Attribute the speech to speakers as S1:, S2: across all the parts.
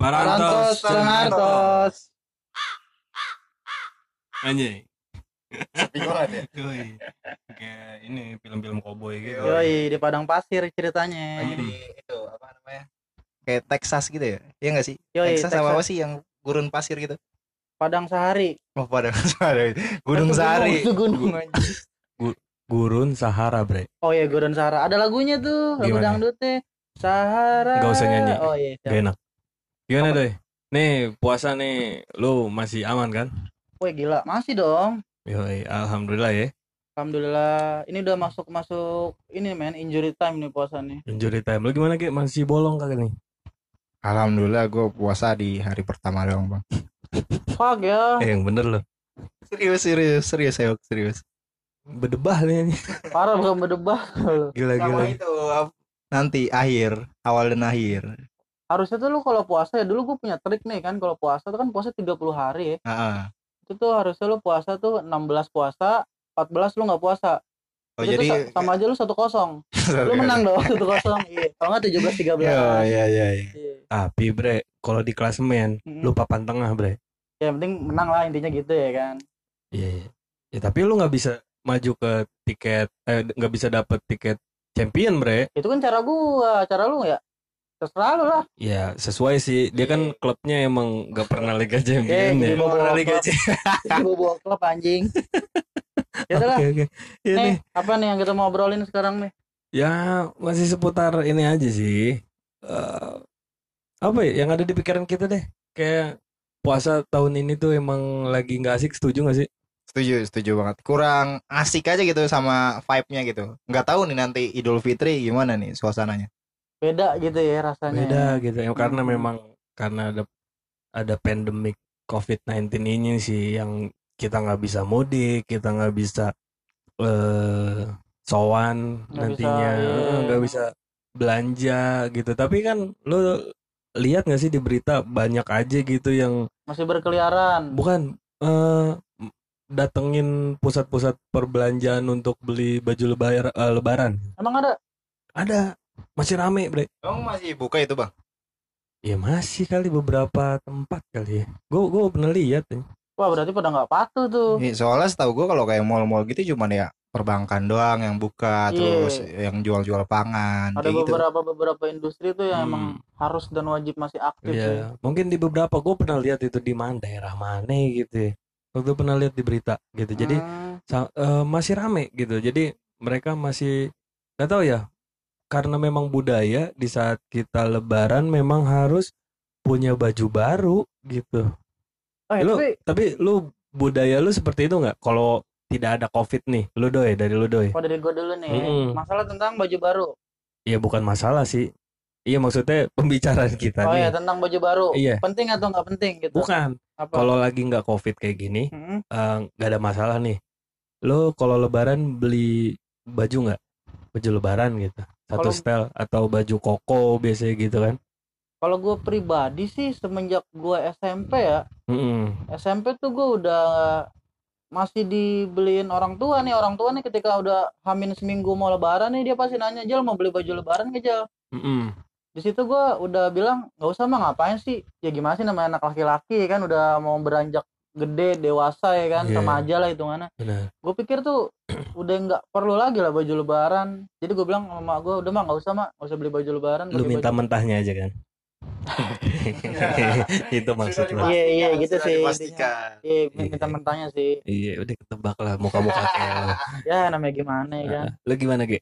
S1: Marantos,
S2: Marantos.
S1: Anjing.
S3: Sepingolan ya.
S1: Yoi. Kayak ini film-film koboi gitu.
S2: Yoi, di padang pasir ceritanya.
S3: Lagi di itu apa namanya? Kayak Texas gitu ya. Iya enggak sih?
S2: Yoi,
S3: Texas, sama apa sih yang gurun pasir gitu?
S2: Padang Sahari.
S3: Oh, pada Gunung Sari.
S2: Itu gunung.
S1: Gurun Sahara, Bre.
S2: Oh iya, Gurun Sahara. Ada lagunya tuh, lagu
S1: Gimana?
S2: dangdutnya. Sahara.
S1: Nggak usah nyanyi.
S2: Oh iya. siap.
S1: Gak enak. Gimana, Doi? Nih, puasa nih. Lu masih aman kan?
S2: Woi gila, masih dong.
S1: Yoi, alhamdulillah ya.
S2: Alhamdulillah. Ini udah masuk masuk ini men injury time nih puasa nih.
S1: Injury time. Lu gimana, Ki? Masih bolong kagak nih?
S3: Alhamdulillah gue puasa di hari pertama doang, Bang.
S2: Fuck ya,
S1: Eh, yang bener lu.
S3: Serius, serius, serius, ayo, serius.
S1: Bedebah nih. anjing.
S2: parah bukan berdebah.
S1: Gila, gila.
S3: Sama itu ap- nanti akhir, awal dan akhir.
S2: Harusnya tuh lu kalau puasa ya dulu gue punya trik nih kan kalau puasa tuh kan puasa 30 hari ya.
S3: Heeh.
S2: Itu tuh harusnya lu puasa tuh 16 puasa, 14 lu nggak puasa.
S3: Oh,
S2: Itu tuh
S3: jadi
S2: sa- sama aja lu satu kosong. Lu menang dong satu kosong. Iya. Kalau nggak 17 13.
S3: Ya, ya, ya. ya.
S2: Iya.
S1: Tapi, Bre, kalau di klasemen,
S2: Mm-mm.
S1: lu papan tengah, Bre.
S2: Ya, yang penting menang lah intinya gitu ya kan.
S1: Iya, iya. Ya, tapi lu nggak bisa maju ke tiket eh nggak bisa dapet tiket champion, Bre.
S2: Itu kan cara gua, cara lu ya. Terserah lu lah.
S1: Ya sesuai sih dia kan klubnya emang gak pernah Liga Champion
S2: Eh,
S1: ya.
S2: dia mau pernah Liga
S1: Champion.
S2: Gua bawa klub anjing. Ya udah lah.
S1: Oke oke. Ya nih.
S2: Nih, apa nih yang kita mau obrolin sekarang nih?
S1: Ya masih seputar ini aja sih. Eh, apa ya yang ada di pikiran kita deh. Kayak puasa tahun ini tuh emang lagi nggak asik setuju gak sih?
S3: Setuju, setuju banget. Kurang asik aja gitu sama vibe-nya gitu. Nggak tahu nih nanti Idul Fitri gimana nih suasananya.
S2: Beda gitu ya rasanya.
S1: Beda gitu. Ya, karena
S2: Hmm.
S1: memang karena ada ada pandemik COVID-19 ini sih yang kita nggak bisa mudik, kita nggak bisa eh sowan
S2: Nggak
S1: nantinya,
S2: bisa, iya.
S1: eh, nggak bisa belanja gitu. Tapi kan lo lihat nggak sih di berita banyak aja gitu yang
S2: Masih berkeliaran.
S1: bukan eh datengin pusat-pusat perbelanjaan untuk beli baju lebar, eh, lebaran.
S2: Emang ada?
S1: Ada masih rame, Bre.
S3: Emang masih buka itu, Bang?
S1: Ya masih kali beberapa tempat kali ya. Gue gue pernah lihat ya.
S2: Wah, berarti pada nggak patuh tuh.
S3: Iya, Soalnya setahu gua kalau kayak mall-mall gitu cuman ya perbankan doang yang
S2: Iya.
S3: buka terus yang jual-jual pangan
S2: Ada
S3: kayak gitu.
S2: beberapa beberapa industri tuh yang
S1: Hmm.
S2: emang harus dan wajib masih aktif
S1: Iya.
S2: sih.
S1: Mungkin di beberapa gue pernah lihat itu di mana daerah mana gitu. Ya. Waktu pernah lihat di berita gitu. Jadi
S2: Hmm,
S1: sa- eh, masih rame gitu. Jadi mereka masih nggak tahu ya. Karena memang budaya di saat kita Lebaran memang harus punya baju baru gitu.
S2: oh, ya,
S1: Lu-
S2: tapi
S1: Tapi lu budaya lu seperti itu nggak? Kalau tidak ada covid nih, lu doi dari ya? lu doi.
S2: oh, dari gue dulu nih.
S1: Hmm.
S2: Masalah tentang baju baru.
S1: Iya bukan masalah sih. Iya maksudnya pembicaraan kita
S2: Oh
S1: nih.
S2: ya, tentang baju baru.
S1: Iya.
S2: Penting atau nggak penting gitu.
S1: Bukan.
S2: Apa?
S1: Kalau lagi nggak covid kayak gini,
S2: Hmm.
S1: eh, nggak ada masalah nih. Lo kalau lebaran beli baju nggak? Baju lebaran gitu. Satu
S2: Kalau-
S1: style atau baju koko biasanya gitu kan?
S2: Kalau gue pribadi sih semenjak gue SMP ya,
S1: Mm-mm.
S2: SMP tuh gue udah masih dibeliin orang tua nih orang tua nih ketika udah hamin seminggu mau lebaran nih dia pasti nanya Jal mau beli baju lebaran gak Jal
S1: Mm-mm.
S2: di situ gue udah bilang nggak usah mah ngapain sih ya gimana sih namanya anak laki-laki kan udah mau beranjak gede dewasa ya kan
S1: Iya.
S2: remaja lah hitungannya
S1: Benar.
S2: gue pikir tuh udah nggak perlu lagi lah baju lebaran jadi gue bilang sama mak gue udah mah nggak usah mak nggak usah beli baju lebaran
S1: Lu
S2: pakai
S1: minta
S2: baju-
S1: mentahnya aja kan? itu maksud lo.
S3: Sudah
S2: Iya, iya,
S3: dipastikan,
S2: gitu
S3: sudah
S2: sih,
S3: dipastikan.
S2: Iya, minta mentahnya sih
S1: Iya udah ketebak lah muka-muka kayak lo.
S2: ya namanya gimana ya
S3: Ah.
S2: kan
S1: Lo gimana Ge?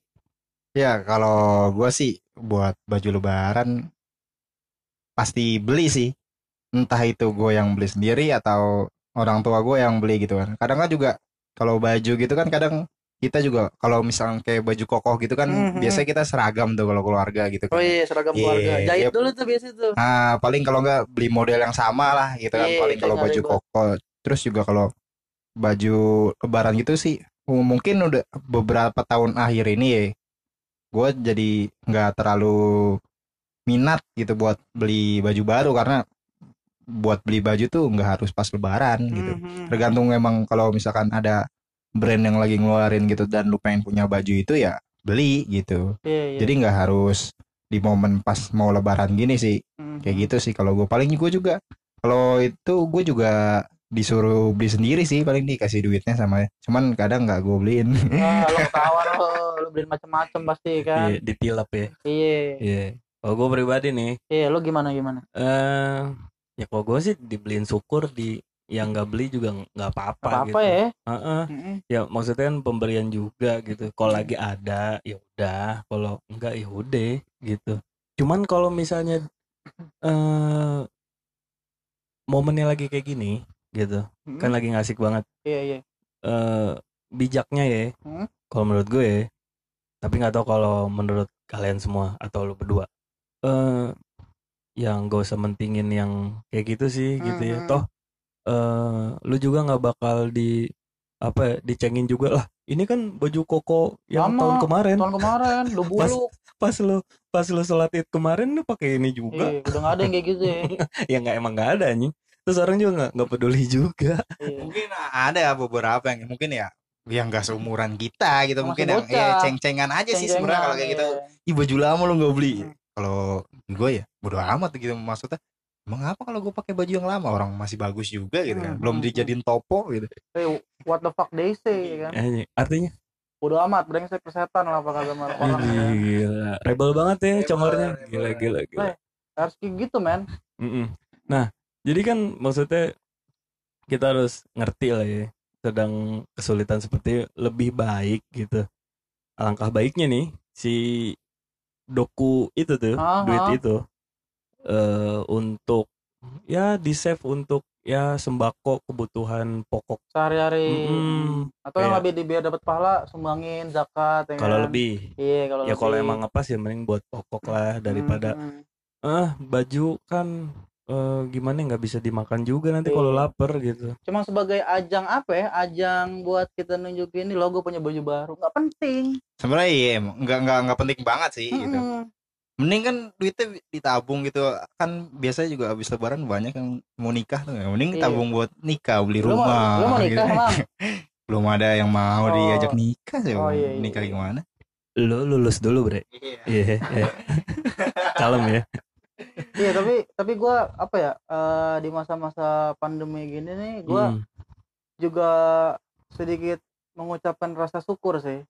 S3: Ya, kalau gua sih buat baju lebaran pasti beli sih. Entah itu gue yang beli sendiri atau orang tua gue yang beli gitu kan. Kadang kan juga kalau baju gitu kan kadang kita juga kalau misalnya kayak baju kokoh gitu kan
S2: Mhm.
S3: biasanya kita seragam tuh kalau keluarga gitu kan.
S2: oh iya seragam
S3: Iya,
S2: keluarga jahit
S3: iya.
S2: dulu tuh biasa tuh
S3: Ah, paling kalau nggak beli model yang sama lah gitu kan.
S2: Iya,
S3: paling kalau
S2: kayak
S3: baju
S2: nyari
S3: koko. Terus juga kalau baju lebaran gitu sih uh, mungkin udah beberapa tahun akhir ini ya gue jadi nggak terlalu minat gitu buat beli baju baru karena buat beli baju tuh nggak harus pas lebaran gitu
S2: Mhm.
S3: tergantung emang kalau misalkan ada brand yang lagi ngeluarin gitu dan lu pengen punya baju itu ya beli gitu
S2: Iya, iya.
S3: jadi nggak harus di momen pas mau lebaran gini sih
S2: Mhm.
S3: kayak gitu sih kalau gue paling gue juga kalau itu gue juga disuruh beli sendiri sih paling dikasih duitnya sama cuman kadang nggak gue beliin
S2: Nah, lo ketahuan lo, lo beliin macam-macam pasti kan.
S1: Iya, ditilap ya
S2: Iya.
S1: iya kalau gue pribadi nih
S2: Iya, lo gimana gimana?
S1: eh ya kalau gue sih dibeliin syukur di yang nggak beli juga nggak apa-apa
S2: Apa apa
S1: gitu
S2: ya?
S3: Ah,
S1: Heeh.
S2: Mm-mm.
S1: ya maksudnya kan pemberian juga gitu kalau lagi ada ya udah kalau enggak ya udah gitu cuman kalau misalnya eh momennya lagi kayak gini gitu
S2: Mm-mm.
S1: kan lagi ngasik banget
S2: Iya iya.
S1: eh bijaknya ya
S2: Hmm?
S1: kalau menurut gue ya, tapi nggak tahu kalau menurut kalian semua atau lu berdua eh yang gak usah mentingin yang kayak gitu sih gitu ya
S2: Mm-mm.
S1: toh eh lu juga nggak bakal di apa ya, dicengin juga lah ini kan baju koko yang
S2: Sama.
S1: tahun kemarin
S3: kan
S2: Tahun kemarin lu
S1: Pas
S2: buluk.
S1: pas lu pas lu sholat id kemarin lu pakai ini juga
S2: Iya, udah nggak ada yang kayak gitu ya.
S3: Iya
S1: ya nggak emang nggak ada nih terus orang juga nggak- nggak peduli juga
S2: Iya.
S3: mungkin ada beberapa yang mungkin ya yang gak seumuran kita
S2: Masih
S3: gitu mungkin yang
S2: bocah.
S3: ya, ceng-cengan aja sih sebenarnya kalau kayak gitu
S2: Ceng-cengan, iya. Hmm.
S3: ih baju lama lu nggak beli kalau gue ya bodo amat gitu maksudnya emang apa kalau gue pakai baju yang lama orang masih bagus juga gitu kan
S2: Hmm,
S3: belum
S2: hmm,
S3: dijadiin topo gitu
S2: iya. Eh, what the fuck they
S3: Iya.
S2: say ya kan?
S1: Eh, artinya
S2: Udah amat brengsek kesehatan lah apa kagak sama orang ya.
S3: Iya.
S1: Wih, Gila. Rebel banget ya
S3: Rebel,
S1: congornya.
S3: rebel.
S1: Gila, gila, gila.
S2: Harus kayak gitu, men.
S1: Mm-mm. Nah, jadi kan maksudnya kita harus ngerti lah ya. Sedang kesulitan seperti lebih baik gitu. Alangkah baiknya nih si doku itu tuh,
S3: Ah,
S2: Aha.
S1: duit itu eh untuk ya di save untuk ya sembako kebutuhan pokok
S2: Sehari-hari.
S3: Hmm.
S1: Mm-mm.
S2: Atau yang
S1: Iya.
S2: lebih di biar dapat pahala sumbangin zakat ya
S1: kalau
S2: kan?
S1: lebih
S2: Iya, kalau
S1: ya kalau
S2: lebih.
S1: emang ngepas ya mending buat pokok lah daripada
S2: Mm, mm.
S1: eh baju kan eh, gimana nggak bisa dimakan juga nanti kalau
S2: Iya.
S1: lapar gitu
S2: Cuma sebagai ajang apa ya? Ajang buat kita nunjukin nih logo punya baju baru. Nggak penting. Hmm,
S3: sebenarnya iya emang nggak nggak nggak penting banget sih
S1: Iya,
S3: gitu
S2: Mm-mm.
S3: mending kan duitnya ditabung gitu kan biasanya juga habis lebaran banyak yang mau nikah tuh mending
S2: Iya.
S3: tabung buat nikah beli
S2: Lu mau-
S3: rumah
S2: lu mau nikah,
S3: gitu.
S2: Mam?
S3: belum ada yang mau
S2: Oh.
S3: diajak nikah sih
S2: Oh, iya, iya,
S3: nikah
S2: iya.
S3: gimana
S1: lo lulus dulu bre iya iya. kalem ya
S2: Iya, tapi tapi gua apa ya? eh, di masa-masa pandemi gini nih, gua
S1: Hmm.
S2: juga sedikit mengucapkan rasa syukur sih.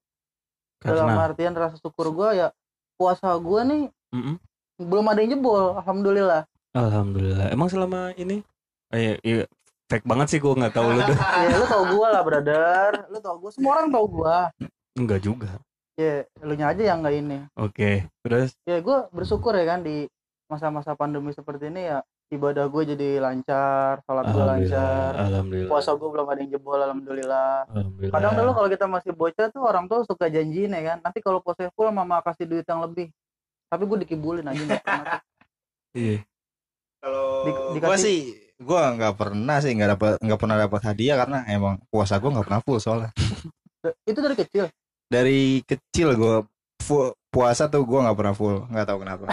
S2: Dalam
S1: karena
S2: artian rasa syukur gua ya puasa gua nih
S1: Mm-mm.
S2: belum ada yang jebol, alhamdulillah.
S1: alhamdulillah emang selama ini eh, iya, iya. fake banget sih gua nggak tahu lu tuh
S2: ya lu tau gua lah, brother. Lu tau gua, semua orang tau gua.
S1: nggak juga
S2: Ya, lu aja yang nggak ini.
S1: oke terus
S2: Ya gua bersyukur ya kan di masa-masa pandemi seperti ini ya ibadah gua jadi lancar, sholat gua
S1: alhamdulillah
S2: lancar,
S1: alhamdulillah
S2: puasa gua belum ada yang jebol, alhamdulillah.
S1: alhamdulillah
S2: Kadang dulu kalau kita masih bocah tuh orang tuh suka janjiin ya kan. Nanti kalau puasa full mama kasih duit yang lebih. Tapi gue dikibulin aja nggak pernah.
S1: iya
S3: kalau
S2: Di- dikasih-
S3: gua sih gua nggak pernah sih nggak dapat nggak pernah dapat hadiah karena emang puasa gua nggak pernah full soalnya
S2: Da- Itu dari kecil.
S3: dari kecil gua full puasa tuh gua nggak pernah full nggak tahu kenapa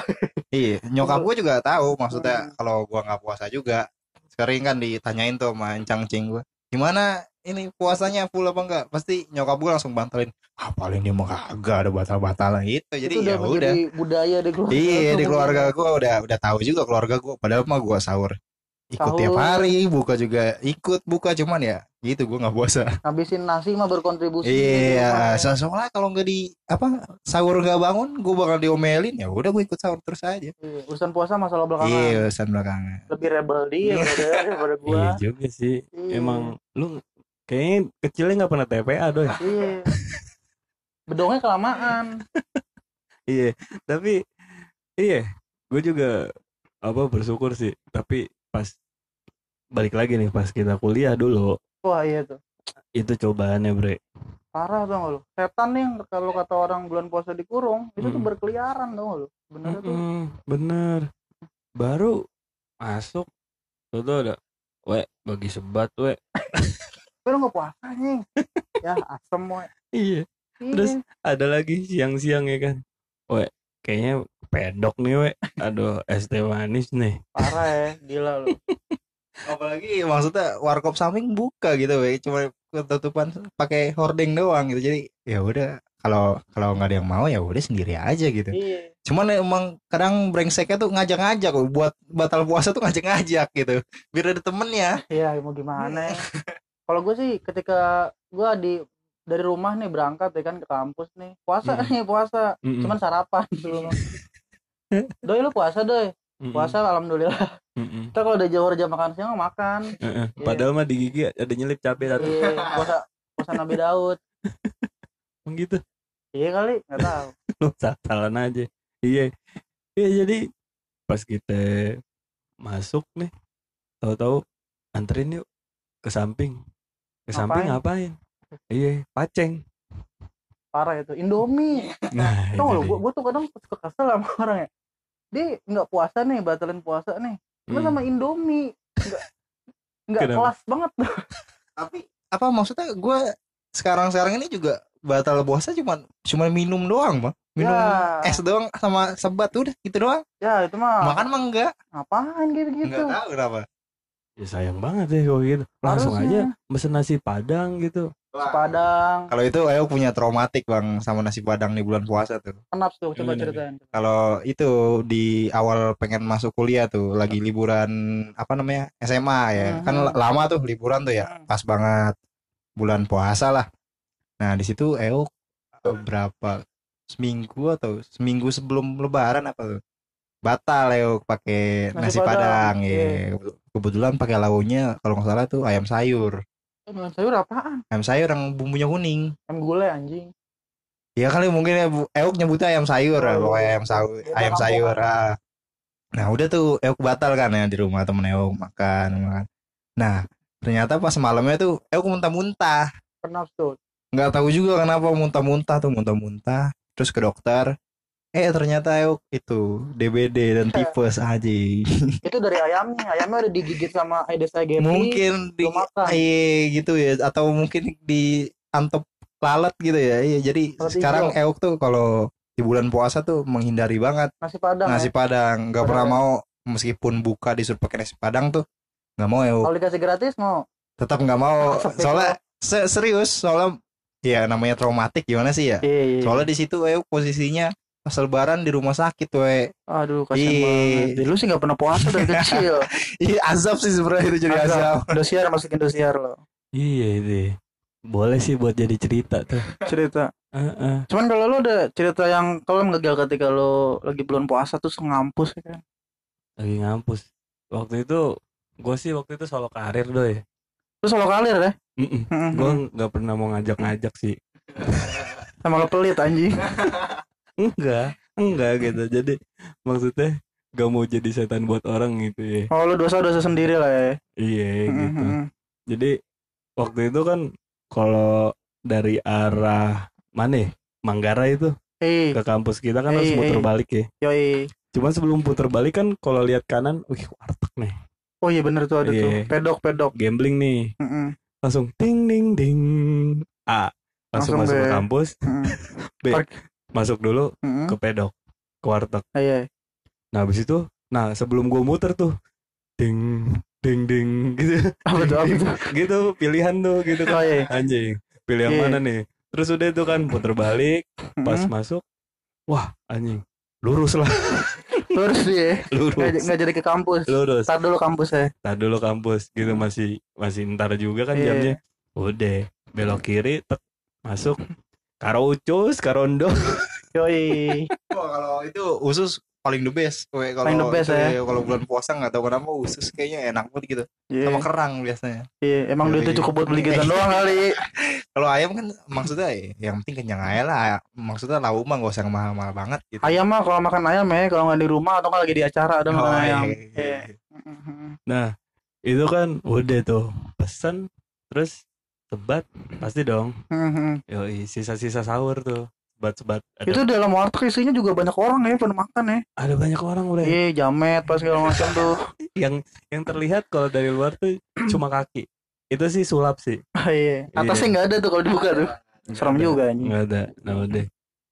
S3: iya nyokap gua juga tahu maksudnya kalau gua nggak puasa juga sering kan ditanyain tuh sama encang cing gua gimana ini puasanya full apa enggak pasti nyokap gua langsung bantalin ah paling dia mah kagak ada batal-batalan gitu jadi
S2: itu udah
S3: ya udah
S2: menjadi budaya di keluarga.
S3: Iya
S2: tuh.
S3: di keluarga gue udah udah tahu juga keluarga gue padahal mah gue sahur ikut
S2: Sahur.
S3: tiap hari buka juga ikut buka cuman ya gitu gue nggak puasa
S2: Habisin nasi mah berkontribusi.
S3: iya
S2: Gitu.
S3: so- soalnya kalau nggak di apa sahur nggak bangun gue bakal diomelin ya udah gue ikut sahur terus aja
S2: Iya, Urusan puasa masalah belakangan.
S3: iya urusan belakangan
S2: Lebih rebel dia brother, daripada gua.
S1: iya juga sih
S2: Iya.
S1: emang lu kayaknya kecilnya nggak pernah TPA doy
S2: Iya. Bedongnya kelamaan.
S1: Iya, tapi iya, gue juga apa bersyukur sih. Tapi pas balik lagi nih pas kita kuliah dulu
S2: Wah iya tuh.
S1: itu cobaannya bre.
S2: Parah tuh lu. Setan nih yang kalau kata orang bulan puasa dikurung, itu tuh
S1: Mm-mm.
S2: berkeliaran tuh lu. Bener tuh.
S1: Mm-mm, bener. Baru masuk tuh tuh ada, we bagi sebat we.
S2: Tapi lu nggak puasa nih. ya asem woy.
S1: Iya.
S2: Iya.
S1: Terus ada lagi siang-siang ya kan. We kayaknya pedok nih we. Aduh es teh manis nih.
S2: parah ya gila lu
S3: apalagi maksudnya warkop samping buka gitu we. cuma ketutupan pakai hording doang gitu jadi ya udah kalau kalau nggak ada yang mau ya udah sendiri aja gitu
S2: Iya.
S3: cuman emang kadang brengseknya tuh ngajak-ngajak loh. buat batal puasa tuh ngajak-ngajak gitu biar ada temennya
S2: Iya mau gimana ya. Kalau gue sih ketika gue di dari rumah nih berangkat ya kan ke kampus nih puasa
S1: Hmm.
S2: nih puasa
S1: Mm-mm.
S2: cuman sarapan dulu doi lu puasa doi
S1: Mm-mm.
S2: puasa alhamdulillah
S1: Mm-mm.
S2: kita kalau udah jauh jam makan siang makan
S1: Heeh. Padahal mah di gigi ada nyelip cabe satu
S2: iya puasa puasa Nabi Daud
S1: Emang gitu.
S2: iya kali nggak tahu
S1: Lu salah aja. Iya. Iya jadi pas kita masuk nih tahu-tahu anterin yuk ke samping. Ke samping ngapain? Iya, paceng.
S2: parah itu Indomie
S1: Nah, itu
S2: tau lu
S1: dia.
S2: gue tuh kadang suka kesel sama orang ya dia nggak puasa nih batalin puasa nih lu
S1: Mm.
S2: sama Indomie nggak nggak
S1: Kenapa?
S2: kelas banget
S3: tapi apa maksudnya gue sekarang sekarang ini juga batal puasa cuman cuman minum doang bang minum
S2: Ya.
S3: es doang sama sebat udah gitu doang
S2: ya itu mah
S3: Eh, makan mah enggak
S2: ngapain gitu gitu
S3: tahu kenapa
S1: Ya sayang banget ya kalau gitu. Langsung aja mesen nasi padang gitu.
S2: Padang
S3: kalau itu ayo punya traumatik bang sama nasi padang di bulan puasa tuh
S2: kenapa tuh
S1: Gimana,
S2: coba ceritain
S3: kalau itu di awal pengen masuk kuliah tuh lagi liburan apa namanya SMA ya kan
S2: Mhm.
S3: la- lama tuh liburan tuh ya
S2: Mhm.
S3: pas banget bulan puasa lah nah di situ Eo eh, berapa seminggu atau seminggu sebelum Lebaran apa tuh batal Eo pakai
S2: Nasi
S3: nasi,
S2: Padang, iya.
S3: padang, ya kebetulan pakai lauknya kalau nggak salah tuh ayam sayur
S2: Eh, makan sayur apaan
S3: ayam sayur yang bumbunya kuning
S2: em gulai anjing
S3: Ya kali mungkin ya Bu- Euk nyebutnya ayam sayur
S2: Oh,
S3: lah,
S2: iya.
S3: pokoknya ayam sayur,
S2: Beda
S3: ayam
S2: kampungan.
S3: sayur. ah. Nah udah tuh Euk batal kan ya di rumah temen Euk makan makan. Nah ternyata pas malamnya tuh Euk muntah-muntah.
S2: kenapa tuh
S3: Nggak tahu juga kenapa muntah-muntah tuh muntah-muntah. Terus ke dokter. Eh ternyata Euk itu DBD dan
S2: Iya.
S3: tipes aja.
S2: itu dari ayamnya ayamnya udah digigit sama Aedes aegypti
S3: mungkin di
S2: belum makan.
S3: iya, gitu ya atau mungkin di antep lalat gitu ya. Iya jadi
S2: Lalat
S3: sekarang Euk tuh kalau di bulan puasa tuh menghindari banget
S2: nasi padang
S3: nasi
S2: ya.
S3: padang nggak pernah
S2: Padang. ya?
S3: mau meskipun buka disuruh pakai nasi padang tuh nggak mau ya
S2: kalau dikasih gratis mau
S3: tetap nggak mau
S2: Sampai
S3: soalnya se- serius soalnya ya namanya traumatik gimana sih ya
S2: iya iya.
S3: soalnya di situ eh posisinya pas lebaran di rumah sakit we
S2: aduh kasihan
S3: Iya.
S2: banget lu sih nggak pernah puasa dari kecil
S3: Ih, azab sih sebenarnya itu
S2: Azab.
S3: jadi azab
S2: Indosiar masukin Indosiar lo
S1: Iya itu. ya. Boleh sih buat jadi cerita tuh.
S2: cerita
S1: Heeh.
S2: cuman kalau lo ada cerita yang kalau ngegal ketika lo lagi bulan puasa tuh sengampus ya kan
S1: Lagi ngampus. Waktu itu gue sih waktu itu solo karir doy.
S2: lo solo kalir ya
S1: Mm-mm.
S2: Mm-mm.
S1: Gue nggak pernah mau ngajak-ngajak sih.
S2: sama lo pelit anjing
S1: Enggak, enggak gitu. Jadi maksudnya gak mau jadi setan buat orang gitu ya.
S2: oh lo dosa dosa sendiri lah ya
S1: Iya gitu.
S2: Mm-mm.
S1: Jadi waktu itu kan kalau dari arah mana? ya? Manggarai itu
S2: Hei,
S1: ke kampus kita kan harus
S2: Eh,
S1: muter
S2: eh.
S1: balik ya.
S2: yoi.
S1: Cuman sebelum puter balik kan kalau lihat kanan, wih warteg nih,
S2: Oh iya bener tuh ada
S1: Iya.
S2: tuh. Pedok pedok.
S1: gambling nih.
S2: Mm-mm.
S1: Langsung ting ding ding. A. Langsung,
S2: Langsung
S1: masuk ke
S2: B.
S1: kampus,
S2: Mm-mm.
S1: masuk dulu
S2: Mm-mm.
S1: ke pedok, ke warteg.
S2: Iya.
S1: Nah, habis itu nah sebelum gua muter tuh ding ding ding gitu.
S2: Apa tuh apa tuh?
S1: gitu pilihan tuh gitu kan.
S2: Oh iya.
S1: Anjing, pilih yang
S2: Iya. Hmm.
S1: mana nih? Terus udah itu kan puter balik, pas
S2: Mm-mm.
S1: masuk wah anjing lurus lah
S2: Terus ya. Nggak,
S1: lurus
S2: nggak jadi ke kampus.
S1: lurus
S2: Ntar dulu kampusnya.
S1: Nah dulu kampus gitu masih masih ntar juga kan
S2: Iya.
S1: jamnya. Udah belok kiri tek, masuk karo ucus karondo
S2: Yoi.
S3: Wah, kalau itu usus paling the best we kalau
S2: Paling the best,
S3: itu
S2: ya.
S3: ya, kalau bulan puasa nggak tahu kenapa usus kayaknya enak banget gitu
S2: Iya.
S3: sama kerang biasanya
S2: Iya. Emang
S3: Yoi.
S2: duitnya cukup buat beli gituan doang kali.
S3: kalau ayam kan maksudnya ya, yang penting kenyang aja lah maksudnya lauk mah gak usah yang mahal-mahal banget gitu
S2: Ayam mah kalau makan ayam ya. Kalau nggak di rumah atau nggak lagi di acara ada makan
S3: Oh, iya,
S2: ayam.
S3: iya,
S2: Iya.
S3: iya.
S2: Mm-mm.
S1: nah itu kan udah tuh pesen terus sebat pasti dong
S2: Mm-mm.
S1: yoi sisa-sisa sahur tuh sebat-sebat ada,
S2: Mm-hmm. Itu dalam warteg isinya juga banyak orang ya pada makan ya.
S1: ada banyak orang udah
S2: Iya jamet pas segala macam tuh.
S1: yang yang terlihat kalau dari luar tuh cuma kaki itu sih sulap sih
S2: Ah, Iya. Atasnya nggak ada tuh kalau dibuka tuh. Serem
S1: Nggak ada.
S2: juga anjing.
S1: nggak ada nah udah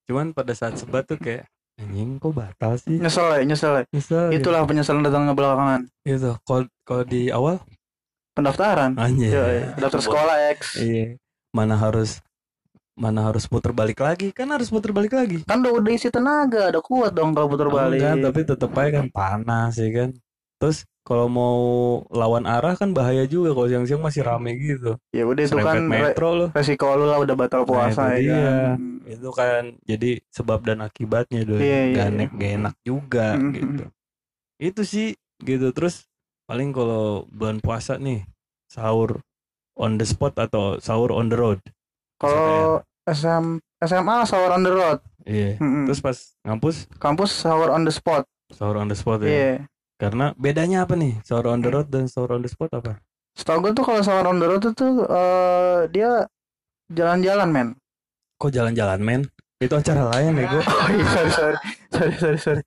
S1: cuman pada saat sebat tuh kayak anjing kok batal sih
S2: Nyesel ya, nyesel ya.
S1: Nyesel gitu.
S2: Itulah penyesalan datangnya belakangan.
S1: Gitu. Kalau kalau di awal
S2: Pendaftaran.
S1: Ah,
S2: Iya,
S1: anjir.
S2: Yoi, daftar sekolah X.
S1: Iya. Mana Iya. harus mana harus puter balik lagi kan harus puter balik lagi
S2: kan udah, udah isi tenaga udah kuat dong kalau putar balik
S1: Enggak, tapi tetep aja kan panas ya kan terus kalau mau lawan arah kan bahaya juga kalau siang-siang masih rame gitu
S2: ya udah itu
S1: serempet
S2: kan re-
S1: metro loh
S2: resiko lu lah udah batal puasa
S1: itu
S2: ya
S1: dia.
S2: kan
S1: itu kan jadi sebab dan akibatnya doi
S2: Iya, iya,
S1: gak,
S2: iya.
S1: enak- gak enak juga
S2: Mhm.
S1: gitu itu sih gitu terus paling kalau bulan puasa nih sahur on the spot atau sahur on the road
S2: kalau SM SMA sahur on the road
S1: iya
S2: ya. Mm-mm.
S1: terus pas ngampus
S2: kampus sahur on the spot
S1: sahur on the spot
S2: iya Mm-hmm.
S1: ya karena bedanya apa nih sahur on the road dan sahur on the spot apa
S2: setahu gue tuh kalau sahur on the road itu tuh eh, dia jalan-jalan men
S1: kok jalan-jalan men itu acara lain ya gue
S2: oh iya sorry sorry sorry sorry sorry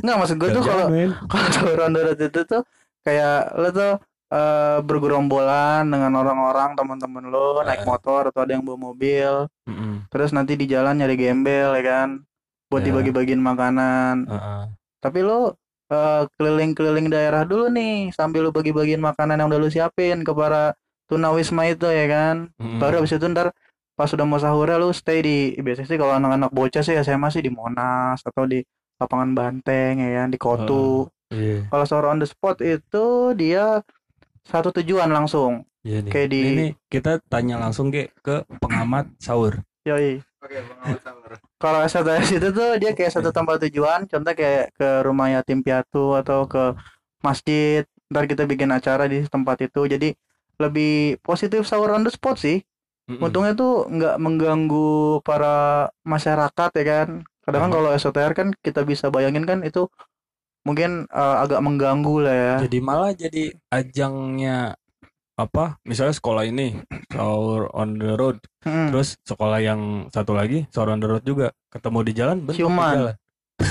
S2: nggak maksud gue tuh kalau
S1: men
S2: kalau sahur on the road itu tuh kayak lo tuh eh, bergerombolan dengan orang-orang teman-teman lo naik
S1: Eh.
S2: motor atau ada yang bawa mobil
S1: Mm-mm.
S2: terus nanti di jalan nyari gembel ya kan buat
S1: Ya.
S2: dibagi-bagiin makanan
S1: Heeh.
S2: tapi lo eh, keliling-keliling daerah dulu nih sambil lo bagi-bagiin makanan yang udah lo siapin ke para tunawisma itu ya kan
S1: Mm-mm.
S2: baru abis itu ntar pas udah mau sahurnya lu stay di biasanya sih kalau anak-anak bocah sih SMA sih di Monas atau di lapangan Banteng ya kan, di Kotu
S1: iya
S2: kalau sahur on the spot itu dia satu tujuan langsung
S1: iya nih
S2: Kayak di-
S1: ini nih, kita tanya langsung Ge, ke pengamat sahur
S2: yoi
S3: Oke, pengamat sahur.
S2: kalau STS itu tuh dia kayak satu tempat tujuan contoh kayak ke rumah yatim piatu atau ke masjid ntar kita bikin acara di tempat itu jadi lebih positif sahur on the spot sih
S1: Mm-mm.
S2: Untungnya tuh nggak mengganggu para masyarakat ya kan. Kadang kan
S1: Mhm.
S2: kalau SOTR kan kita bisa bayangin kan itu mungkin eh, agak mengganggu lah ya.
S1: jadi malah jadi ajangnya apa misalnya sekolah ini sahur on the road
S2: Mm.
S1: terus sekolah yang satu lagi sahur on the road juga ketemu di jalan bentuk
S2: Ciuman.
S1: di jalan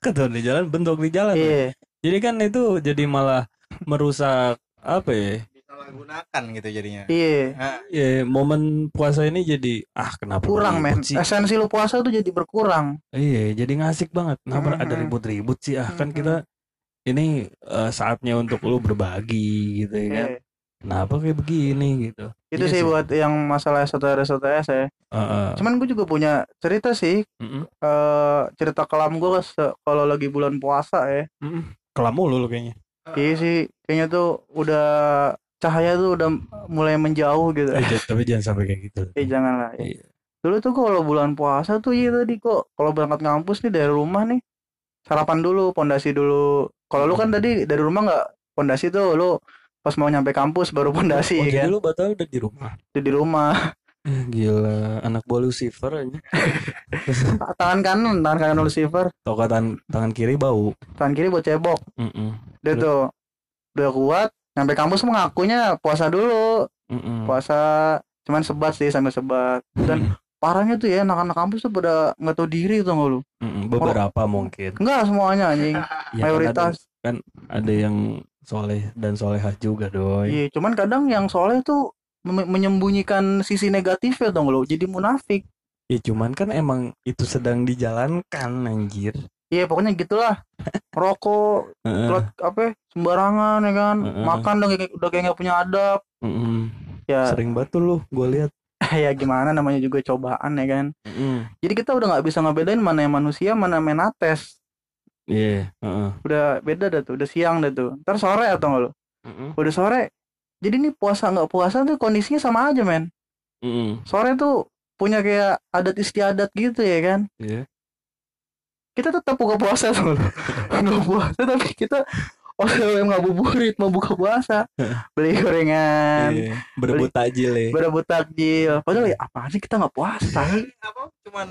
S1: ketemu di jalan bentuk di jalan
S2: Iya.
S1: jadi kan itu jadi malah merusak apa ya
S3: Disalahgunakan gitu jadinya.
S2: Iya.
S3: Nah,
S1: Iya, momen puasa ini jadi ah kenapa
S2: Kurang men.
S1: beribut sih?
S2: Esensi lu puasa tuh jadi berkurang.
S1: Iya, jadi ngasik banget. Kenapa
S2: Mhm.
S1: ada ribut-ribut sih? Ah, kan
S2: Mhm.
S1: kita ini eh, saatnya untuk lu berbagi gitu ya kan.
S2: Iya.
S1: Kenapa kayak begini gitu.
S2: Itu
S1: Iya
S2: sih
S1: sih.
S2: buat yang masalah SOTR SOTS ya.
S1: Heeh.
S2: Cuman gue juga punya cerita sih
S1: Mm-mm.
S2: eh cerita kelam gue kalau lagi bulan puasa ya.
S1: Mm-mm. Kelam mulu lu kayaknya.
S2: Iya sih kayaknya tuh udah cahaya tuh udah mulai menjauh gitu.
S1: Eh, j- tapi jangan sampai kayak gitu.
S2: Eh jangan lah.
S1: Iya.
S2: Dulu tuh kalau bulan puasa tuh iya tadi kok kalau berangkat ngampus nih dari rumah nih sarapan dulu, pondasi dulu. Kalau lu kan tadi dari rumah nggak pondasi tuh lu pas mau nyampe kampus baru pondasi
S1: Oh,
S2: ya
S1: jadi
S2: kan.
S1: lu batal udah di rumah.
S2: Itu di rumah.
S1: Eh, Gila, anak buah Lucifer aja.
S2: Tangan kanan, tangan kanan Lucifer,
S1: Toka tangan, tangan kiri bau.
S2: tangan kiri buat cebok.
S1: Mm-mm. Terus?
S2: Dia tuh udah kuat, nyampe kampus mah ngakunya puasa dulu.
S1: Mm-mm.
S2: Puasa cuman sebat sih sambil sebat. Dan parahnya tuh ya anak-anak kampus tuh pada nggak tahu diri tuh nggak lu.
S1: Mm-mm. beberapa mungkin.
S2: Enggak semuanya anjing,
S1: Ya, kan ada-
S2: mayoritas.
S1: ada yang soleh dan solehah juga doi
S2: Iya, cuman kadang yang soleh tuh mem- menyembunyikan sisi negatifnya dong lo, jadi munafik.
S1: ya cuman kan emang itu sedang dijalankan anjir
S2: Iya, pokoknya gitulah. Rokok,
S1: Heeh,
S2: klot, apa sembarangan ya kan.
S1: Heeh.
S2: Makan udah kayak udah kayak nggak punya adab.
S1: mm-mm.
S2: Ya,
S1: sering banget tuh lu gue lihat
S2: ya gimana namanya juga cobaan ya kan.
S1: Mm-mm.
S2: Jadi kita udah nggak bisa ngebedain mana yang manusia, mana yang menates.
S1: iya heeh.
S2: Udah beda dah tuh, udah siang dah tuh. Ntar sore atau nggak lo? Udah sore. Jadi nih puasa nggak puasa tuh kondisinya sama aja men.
S1: Mm-mm.
S2: Sore tuh punya kayak adat istiadat gitu ya kan.
S1: Iya.
S2: kita tetap buka puasa tuh nggak puasa tapi kita oleh ngabuburit mau buka puasa beli gorengan
S1: Iya, berebut tajil ya
S2: berebut takjil padahal ya apaan sih kita nggak puasa
S3: apa cuman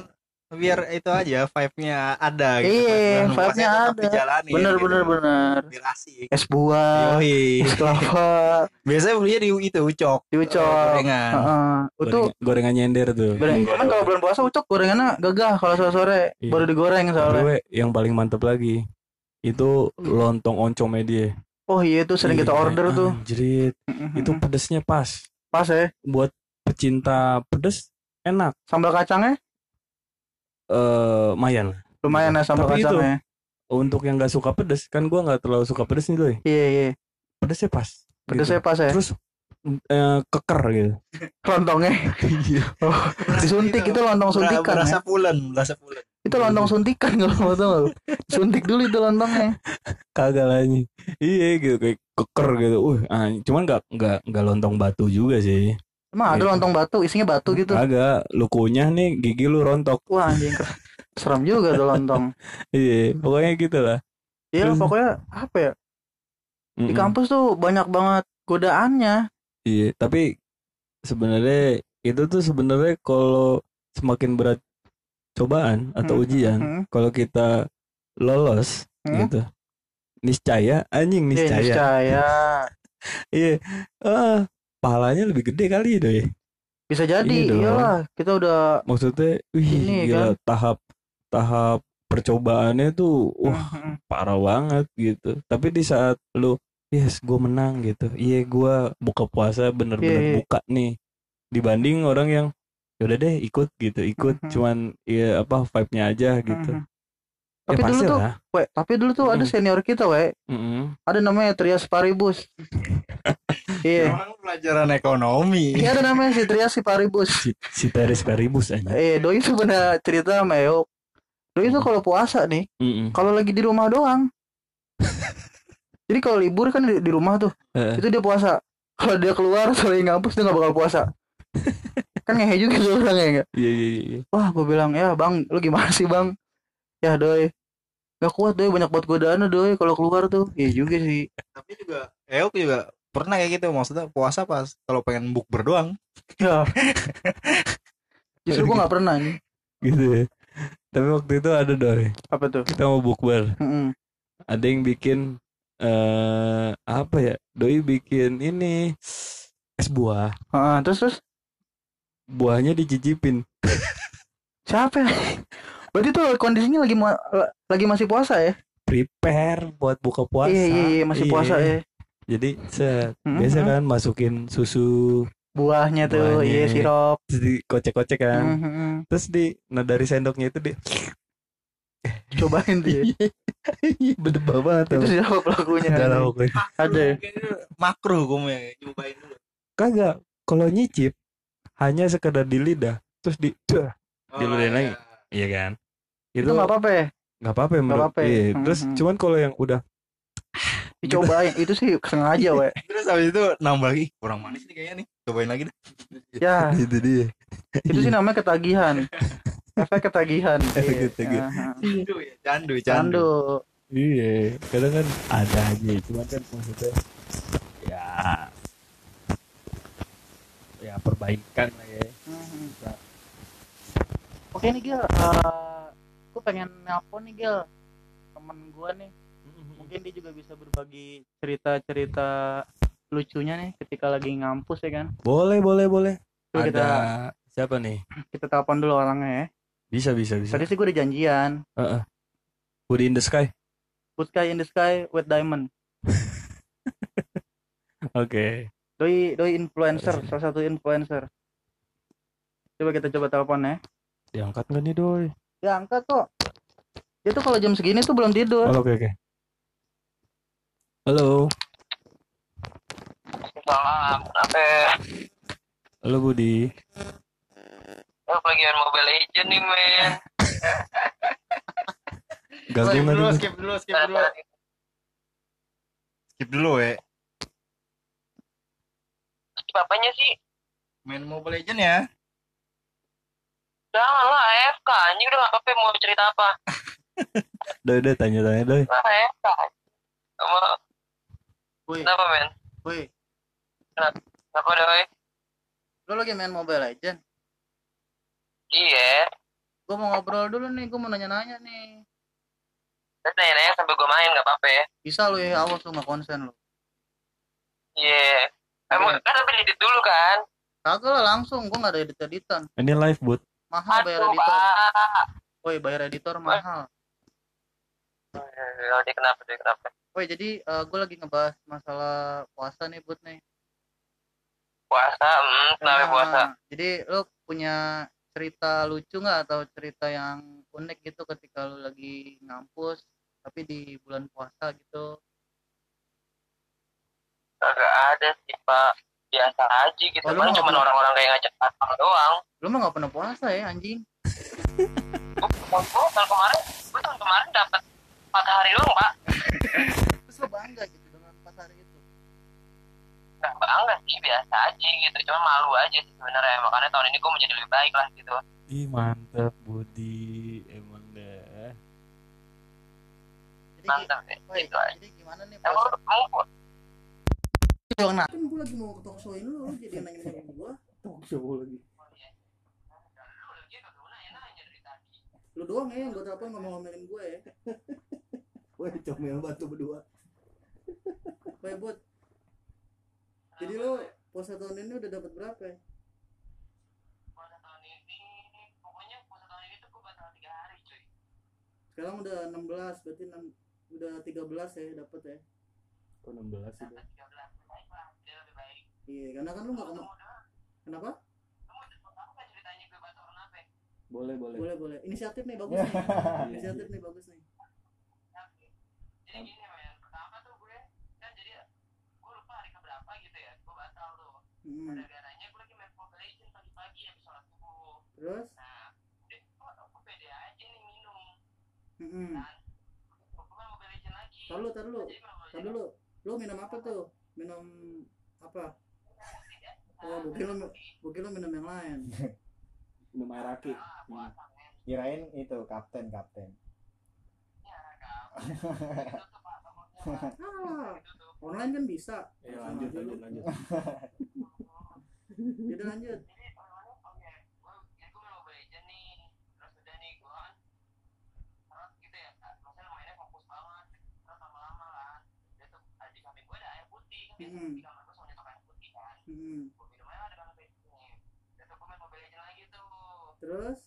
S3: biar itu aja vibe-nya ada
S2: Iya,
S3: Bulan puasa
S2: vibe-nya
S3: tetap
S2: ada.
S3: dijalanin
S2: bener
S3: gitu.
S2: bener bener
S3: Biar asik.
S2: es
S1: Oh,
S2: buah
S1: iya,
S3: Yoi.
S2: es kelapa
S3: Biasanya belinya di itu ucok.
S2: Di Ucok.
S1: Iya,
S3: Gorengan.
S2: Heeh. itu
S1: Goreng- gorengan nyender tuh
S4: Iya.
S2: goreng cuman kalau bulan puasa ucok gorengannya gagah kalau sore sore
S1: Iya.
S2: baru digoreng
S1: Tapi
S2: soalnya
S1: we, yang paling mantep lagi itu lontong oncomnya dia
S2: oh iya itu Hmm. sering kita
S1: Iya,
S2: order tuh
S1: anjrit. itu pedesnya pas
S2: pas ya
S1: buat pecinta pedes enak
S2: sambal kacangnya
S1: eh lumayan
S2: lumayan ya sambal
S1: Tapi itu-
S2: kacangnya
S1: untuk yang gak suka pedes kan gua nggak terlalu suka pedes nih doi
S2: iya iya
S1: pedesnya pas gitu.
S2: pedesnya pas ya
S1: Terus eh, keker gitu.
S2: lontongnya Oh, disuntik itu lontong suntikan ya.
S4: berasa pulen berasa pulen
S2: itu lontong suntikan kalau mau tahu suntik dulu itu lontongnya
S1: Kagak lagi. Iya gitu kayak keker gitu. Uh, anj- cuman nggak nggak nggak lontong batu juga sih.
S2: emang ada
S1: Iya.
S2: lontong batu isinya batu gitu
S1: Kagak lukunya nih gigi lu rontok.
S2: wah anjing serem juga tuh lontong
S1: Iya, pokoknya gitu lah.
S2: iya
S1: Terus-
S2: pokoknya apa ya di
S1: Mm-mm.
S2: kampus tuh banyak banget godaannya
S1: Iya, tapi sebenarnya itu tuh sebenarnya kalau semakin berat cobaan atau
S2: Hmm.
S1: ujian,
S2: Hmm.
S1: kalau kita lolos
S2: Hmm.
S1: gitu. Niscaya, anjing
S2: Iya,
S1: niscaya.
S2: niscaya.
S1: Iya. Ah, pahalanya lebih gede kali itu ya.
S2: bisa jadi
S1: Ini Iya dong.
S2: iyalah kita udah
S1: Maksudnya, wih,
S2: Ini kan.
S1: gila tahap tahap percobaannya tuh wah
S2: Mm-mm.
S1: parah banget gitu. Tapi di saat lu yes gue menang gitu. Iya gua buka puasa bener-bener
S2: Iya, iya.
S1: buka nih. Dibanding orang yang yaudah deh ikut gitu ikut
S2: Mhm.
S1: cuman ya apa vibe-nya aja gitu.
S2: Mm-mm.
S1: Ya
S2: Tapi dulu
S1: pasti
S2: tuh,
S1: lah.
S2: we, Hmm. tapi dulu tuh ada
S1: Mm.
S2: senior kita, we,
S1: Mm-mm.
S2: ada namanya Trias Paribus. Iya,
S3: Emang pelajaran ekonomi.
S2: Iya, ada namanya si Trias si Paribus.
S1: Si, si Teres Paribus aja.
S2: Eh, doi tuh pernah cerita sama Eok. Doi tuh kalau puasa nih,
S1: Mm-mm.
S2: kalau lagi di rumah doang. Jadi kalau libur kan di, di rumah tuh,
S1: Eh,
S2: itu dia puasa. Kalau dia keluar sore ngampus dia nggak bakal puasa. kan ngehe juga tuh orang ya nggak?
S1: Iya iya iya. iya.
S2: Wah, gue bilang ya bang, lu gimana sih bang? Ya doi, nggak kuat doi banyak buat godaan doi kalau keluar tuh. Iya juga sih.
S3: Tapi juga Eok juga pernah kayak gitu maksudnya puasa pas kalau pengen bukber doang.
S2: Ya. Justru gue nggak pernah nih.
S1: Gitu ya. Tapi waktu itu ada doi.
S2: Apa tuh?
S1: Kita mau bukber.
S2: Mm-mm.
S1: ada yang bikin eh apa ya doi bikin ini es buah
S2: Ah, terus terus
S1: buahnya dijijipin
S2: siapa? ya? Berarti tuh kondisinya lagi ma- lagi masih puasa ya?
S1: prepare buat buka puasa
S2: Iya iya iya Hmm, masih puasa ya.
S1: jadi set
S2: Mm-mm.
S1: biasa kan masukin susu
S2: Buahnya Iya. tuh,
S1: Buahnya.
S2: iya Mm-hmm. sirup.
S1: terus dikocek-kocek kan
S2: Mm-mm.
S1: terus di nah dari sendoknya itu dia
S2: Cobain tuh. ya.
S1: bedebah banget
S2: Itu iya.
S1: tuh
S2: siapa pelakunya?
S1: Galau gue.
S2: Ada ya?
S4: makruh hukumnya nyobain dulu
S1: kagak kalau nyicip hanya sekedar di lidah terus di Duh.
S3: Oh,
S1: Diludahin lagi. iya kan itu
S2: Itu nggak
S1: nggak
S2: apa-apa ya?
S1: apa-apa menurut
S2: apa-apa ya.
S1: iya. terus
S2: Mm-mm.
S1: cuman kalau yang udah
S2: Dicobain. Itu sih sengaja we.
S3: Terus habis itu nambah lagi kurang manis nih kayaknya nih. Cobain lagi deh.
S2: Ya
S1: itu dia
S2: itu sih namanya ketagihan. Efek ketagihan.
S1: Efek
S2: Iya.
S1: ketagihan.
S2: Ah, ah.
S3: Candu ya, candu, candu.
S2: Candu.
S1: Iya, kadang kan ada aja, cuman kan maksudnya ya ya perbaikan lah ya.
S2: Mhm. Oke nih Gil, Eh, gue pengen nelpon nih Gil temen gue nih, mungkin dia juga bisa berbagi cerita-cerita lucunya nih ketika lagi ngampus ya kan.
S1: Boleh, boleh, boleh. ada
S2: Coba kita
S1: siapa nih?
S2: kita telepon dulu orangnya ya.
S1: Bisa, bisa, bisa.
S2: Tadi sih gue udah janjian,
S1: Heeh. Woody in the sky.
S2: Good Sky in the Sky with Diamond.
S1: Oke.
S2: Doi doi influencer, salah satu influencer. Coba kita coba telepon ya.
S1: Diangkat nggak nih doi?
S2: Dia angkat kok. Dia tuh kalau jam segini tuh belum tidur.
S1: Oh, Oke, oke. Halo.
S5: Salam, eh,
S1: Halo Budi.
S5: lo bagian Mobile Legend nih
S2: Iya,
S5: men
S1: Ganggu nggak nih?
S3: skip dulu, skip dulu. Skip dulu, ya. we.
S5: Bapaknya sih,
S3: Main Mobile Legend ya.
S5: jangan lah AFK Anjing udah gak apa mau cerita apa
S1: Doi, doi tanya-tanya doi.
S5: Lah AFK Sama,
S2: Woi,
S5: kenapa men?
S2: woi,
S5: Kenapa doi?
S2: lu lagi main Mobile Legend?
S5: Iya
S2: Gue mau ngobrol dulu nih, gue mau nanya-nanya nih.
S5: Terus nanya-nanya sambil gue main gak apa-apa ya
S2: Bisa lu ya, awas lu gak konsen lu.
S5: Iya Emang kan sampe didit dulu kan
S2: Kagak lah langsung, gue gak ada edit-editan.
S1: Ini live bud.
S2: Mahal Kan bayar
S5: Aduh
S2: editor.
S5: pak
S2: Woi, bayar editor mahal.
S5: Aduh, Eh, oh, dia kenapa dia kenapa
S2: Woi, jadi gue lagi ngebahas masalah puasa nih, Bud nih.
S5: Puasa, hmm, kenapa
S2: Nah,
S5: puasa
S2: Jadi lu punya cerita lucu nggak atau cerita yang unik gitu ketika lu lagi ngampus tapi di bulan puasa gitu
S5: Kagak ada sih pak biasa aja gitu
S2: Oh, lu
S5: kan
S2: nggak
S5: cuma
S2: pernah-
S5: orang-orang kayak ngajak datang doang
S2: Lu mah nggak pernah puasa ya anjing?
S5: gue Oh, tahun kemarin gue tahun kemarin dapat empat hari doang pak
S2: Terus lu bangga gitu dengan pas hari itu.
S5: nggak bangga Nah, sih biasa aja gitu cuma malu aja sih sebenarnya makanya tahun ini gue menjadi lebih baik lah gitu
S2: Iya,
S1: Ih mantap Budi emang dah.
S2: Jadi,
S5: mantap ya
S2: woi,
S5: gitu aja
S2: jadi gimana nih
S5: emang
S2: puasa?
S5: lu kamu
S2: Nah, kan gue lagi mau ke talkshow lu, lu jadi nanya-nanya gue. Talkshow lagi. Lu doang ya yang gue telepon ngomong-ngomelin gue ya. Woi, comel banget lu berdua. Woi, Bud. Jadi lu puasa tahun ini udah dapat berapa ya?
S5: puasa tahun ini pokoknya puasa tahun ini tuh gue batal tiga hari cuy
S2: Sekarang udah 16, berarti 6, udah 13 ya dapat ya.
S1: Kok 16
S5: sampai tiga belas baik lah dia lebih baik
S2: Iya, karena kan lu
S5: lu
S2: enggak
S5: mau
S2: kena.
S5: doang
S2: Kenapa?
S5: lu mau apa kan ceritanya gue batal kenapa ya?
S1: Boleh boleh.
S2: Boleh, boleh. Inisiatif nih bagus nih. Inisiatif nih bagus nih.
S5: Tapi, jadi gini men pertama tuh gue kan jadi gue lupa hari keberapa gitu ya gue batal tuh
S2: Hmm.
S5: gara-garanya gue lagi main Mobile Legends pagi-pagi habis sholat subuh
S2: Terus?
S5: nah udah gue gue pede aja nih minum
S2: Heeh.
S5: dan gue main Mobile Legends lagi
S2: Tahu Hmm, lu, tahu lu.
S5: jadi gue
S2: Tar dulu, lu minum apa tuh? Minum apa?
S5: ya. Nah,
S2: Oh, mungkin lu, mungkin lu minum yang lain.
S1: Minum air aki.
S5: ah,
S2: Hmm.
S3: Kirain itu kapten kapten.
S5: ya,
S2: Ah, online kan bisa.
S1: Ya lanjut lanjut lanjut.
S2: Jadi lanjut.
S5: jadi awalnya oke gue jadi gue main Mobile Legends nih terus udah nih gue kan terus gitu ya maksudnya mainnya fokus banget terus lama-lama lah dia tuh ada di samping gue ada air putih kan biasa
S2: Hmm.
S5: di kamar gue selalu nyetok air putih kan
S2: Hmm.
S5: gue minum aja ada kan putihnya terus gue main Mobile Legends lagi tuh
S2: Terus?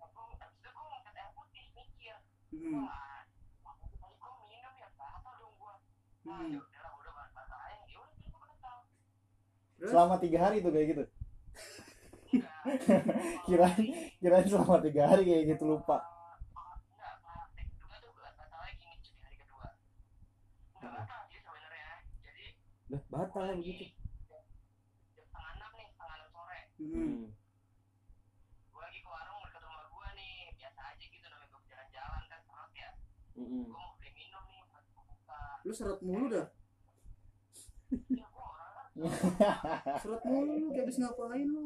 S5: aku abis itu gue ngangkat air putih mikir
S2: Hmm.
S5: wah waktu itu tadi gue minum ya batal dong gue wah
S2: Hmm.
S5: ya udahlah udah batal aja ya udah gue batal
S2: Terus?
S6: selama tiga hari tuh kayak gitu
S5: Enggak.
S6: Kirain- kirain selama tiga hari kayak gitu lupa
S5: Oh, enggak, Pak. Yang kedua tuh gua batal lagi nih, cuti hari kedua. Enggak batal sih sebenarnya. Jadi,
S1: Lah batal
S5: lagi
S1: yang gitu.
S5: jam setengah enam nih, setengah enam sore.
S2: Hmm.
S5: Gua lagi ke warung dekat rumah gua nih, biasa aja gitu namanya gua jalan-jalan kan serot ya.
S1: Mm-mm.
S5: Gua mau beli minum nih, pas gua buka.
S2: Lu seret mulu dah.
S5: Ya gua orang
S2: Seret mulu lu kayak habis ngapain lu.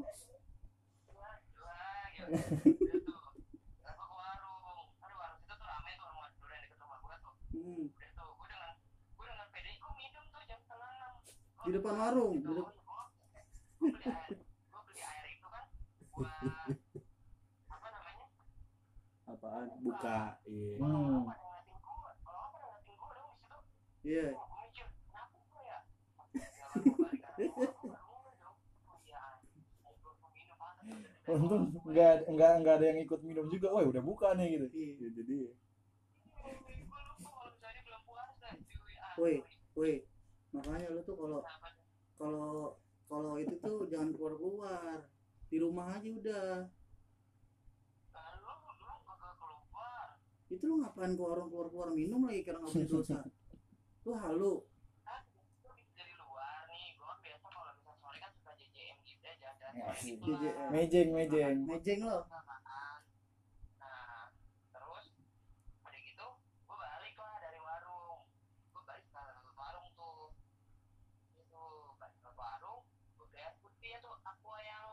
S5: gua gua gitu. Udah tuh. Terus gua ke warung. Aduh, warung itu tuh ramai tuh warung Madura yang dekat rumah gua tuh.
S2: Hmm.
S5: Udah tuh, gua dengan gua dengan pede gua minum tuh jam setengah enam.
S2: Di depan warung, di depan-
S5: Gua beli air, gua beli air itu kan buat apa namanya?
S1: Apaan? Buka. Iya.
S6: Hmm.
S5: Kalau apa ada ngeliatin gua, kalau apa ada ngeliatin gua dong di situ.
S2: Iya.
S5: Gua gua mikir, kenapa gua ya? Ya, gua balik karena gua nggak keluar rumah dong. Oh, iya. Gua- gua minum panas, udah, udah, udah.
S6: untung nggak nggak nggak ada yang ikut minum juga wah udah buka nih gitu
S2: Iya.
S1: Jadi
S5: Gua lupa kalau misalnya belum puasa, cuy. Ah,
S2: Woi.
S5: sorry.
S2: Woi, makanya lu tuh kalau
S5: Kenapa?
S2: kalau kalau itu tuh jangan keluar-keluar. Di rumah aja udah.
S5: Nah, lu- lu bakal keluar.
S2: Itu lu ngapain ke warung keluar-keluar minum lagi karena nggak punya dosa. Lu halu.
S5: Kan, gua bisa dari luar nih. Gua kan biasa kalau bisa sore kan suka JJM gitu ya, jalan-jalan
S6: Ya,
S5: sore
S6: sih.
S5: gitu
S1: Iya.
S5: lah.
S2: JJM.
S6: mejeng mejeng
S2: Mejeng lo.
S5: Apaan? Nah, terus udah gitu, gue balik lah dari warung. Gue balik ke ke warung tuh. Gitu, balik ke warung. Gue beli air putih itu aqua yang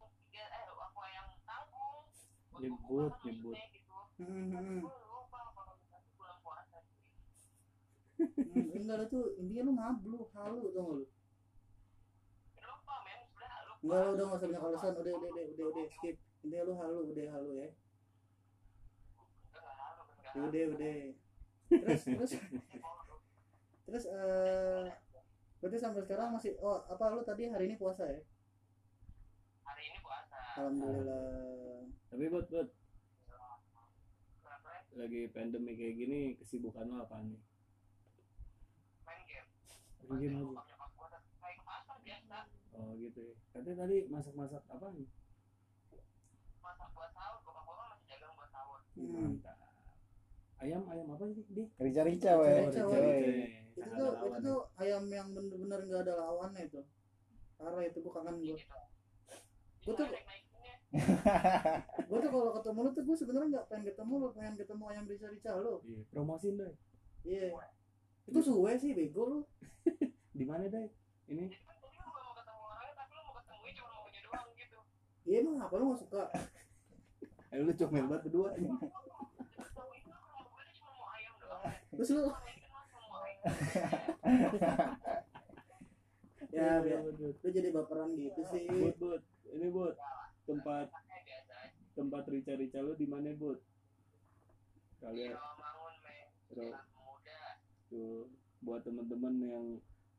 S5: tiga eh aqua yang tanggung. Gua
S1: Nyebut,
S5: buka kan
S1: nyebut.
S5: maksudnya Gitu.
S2: Hmm,
S5: Tapi
S2: hmm,
S5: gue lupa kalau misalnya bulan puasa. cuy.
S2: hmm. Enggak lu tuh intinya lu ngablu, halu tau nggak lu.
S5: Lupa men, sebenernya lupa.
S2: Enggak lah udah nggak usah banyak alasan udah udah udah udah, udah skip intinya lu halu udah halu ya
S5: Enggak, enggak, enggak.
S2: Ya udah udah terus terus terus eh berarti sampai sekarang masih oh apa lu tadi hari ini puasa ya
S5: Hari ini puasa.
S6: Ah,
S2: alhamdulillah
S1: tapi buat buat
S5: Kenapa ya?
S1: lagi pandemi kayak gini kesibukan lo apaan nih?
S5: Main game.
S1: Main game aja.
S5: Nyokap gua tetep main ke pasar biasa.
S1: Oh gitu ya. Katanya tadi masak-masak apa nih?
S5: masak buat sahur bokap gua kan masih dagang buat sahur
S2: hmm.
S1: Mantap. Ayam ayam apa sih di?
S6: rica rica weh
S2: Rica-rica,
S6: Rica-rica, weh. ya.
S2: itu tuh itu tuh ayam yang bener-bener nggak ada lawannya itu parah itu gue kangen
S1: Iya.
S2: gue
S6: Iya.
S5: gitu
S2: Gua tuh-
S5: Naik- naiknya
S2: gue tuh kalau ketemu lu tuh gue sebenarnya nggak pengen ketemu lu pengen ketemu ayam rica rica lu
S6: Iya, promosiin deh.
S2: iya itu suwe sih bego lu
S6: Di mana deh? Ini
S5: jadi kan tadi lu gak mau ketemu orangnya tapi lu mau ketemuin cuma maunya doang gitu
S2: iya emang apa lu nggak suka
S6: eh, lu comel banget berdua. nih.
S5: Tahu itu lu kalau gue cuma mau ayam doang kan
S2: terus lu
S5: cuma mau ayam
S2: ya
S6: Iya,
S2: biar
S6: bud, bud.
S2: lu jadi baperan gitu sih
S6: Bud, bud. Ini bud. Tempat
S5: kayak Eh, biasa aja
S6: tempat rica-rica lu di mana bud?
S5: di
S1: Iya.
S6: Kalian
S5: bangun men
S6: Bro.
S5: anak muda
S6: tuh buat teman-teman yang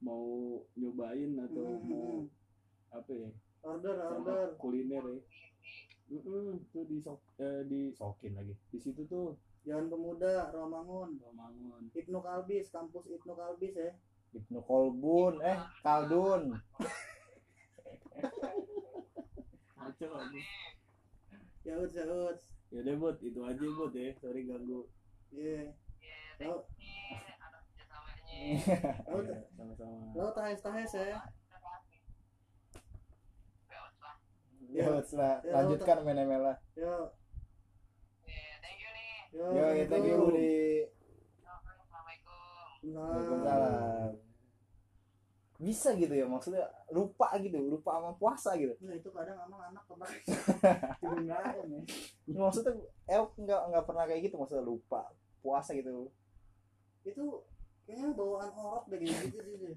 S6: mau nyobain atau
S2: Hmm,
S6: mau
S2: hmm.
S6: apa ya?
S2: order
S6: sama
S2: order
S6: kuliner ya.
S5: ini
S6: Mm-mm, tuh di sok eh, di sokin lagi. Di situ tuh
S2: Jalan Pemuda, Romangun,
S6: Romangun.
S2: Ibnu Kalbis, kampus Ibnu Kalbis ya.
S3: Ibnu Kolbun eh Kaldun
S6: Kacau aja.
S2: Jaut, jaut.
S6: Ya deh bud, itu aja bud ya. Sorry ganggu.
S2: Iya.
S5: ya
S2: Tahu.
S5: teknik ada kerjasamanya
S2: Lo
S6: Iya, sama-sama.
S2: lo tahes tahes ya.
S5: Beot lah.
S2: Yo,
S3: ya lah lanjutkan main ML lah
S2: yo,
S5: Ya, thank you nih
S2: yo.
S3: yo ya, thank you Budi
S5: Assalamualaikum
S2: Nah,
S3: Waalaikumsalam bisa gitu ya maksudnya lupa gitu lupa sama puasa gitu
S2: nah, itu kadang emang anak kebak. Dengaran ya.
S3: maksudnya Elk nggak nggak pernah kayak gitu maksudnya lupa puasa gitu
S2: Itu kayaknya bawaan orok deh kayak gitu sih. dia.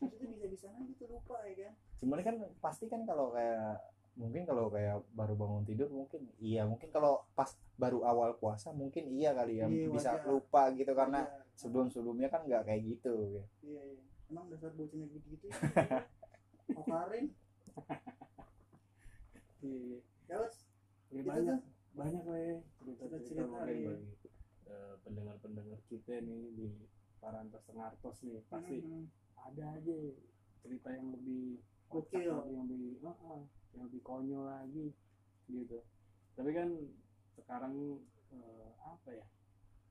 S2: Maksudnya bisa-bisanya gitu lupa ya kan.
S3: cuman kan pasti kan kalau kayak mungkin kalau kayak baru bangun tidur mungkin iya mungkin kalau pas baru awal puasa mungkin iya kali ya
S2: Iya,
S3: bisa
S2: wajar.
S3: lupa gitu karena
S2: Iya,
S3: sebelum sebelumnya kan nggak kayak gitu ya.
S2: Iya, iya. Emang dasar bocahnya begitu ya. Okarin.
S6: Iya, iya.
S2: Jaut.
S6: Ya,
S2: Itu
S6: banyak
S2: tuh.
S6: banyak lah ya cerita-cerita
S2: Cerita-cerita,
S6: mungkin
S2: iya.
S6: bagi eh, pendengar-pendengar kita nih di Parantos Tengartos nih pasti
S2: Mhm.
S6: ada aja cerita yang lebih kocak
S2: Gokil.
S6: lagi, yang lebih ah, ah, yang lebih konyol lagi gitu tapi kan sekarang eh, apa ya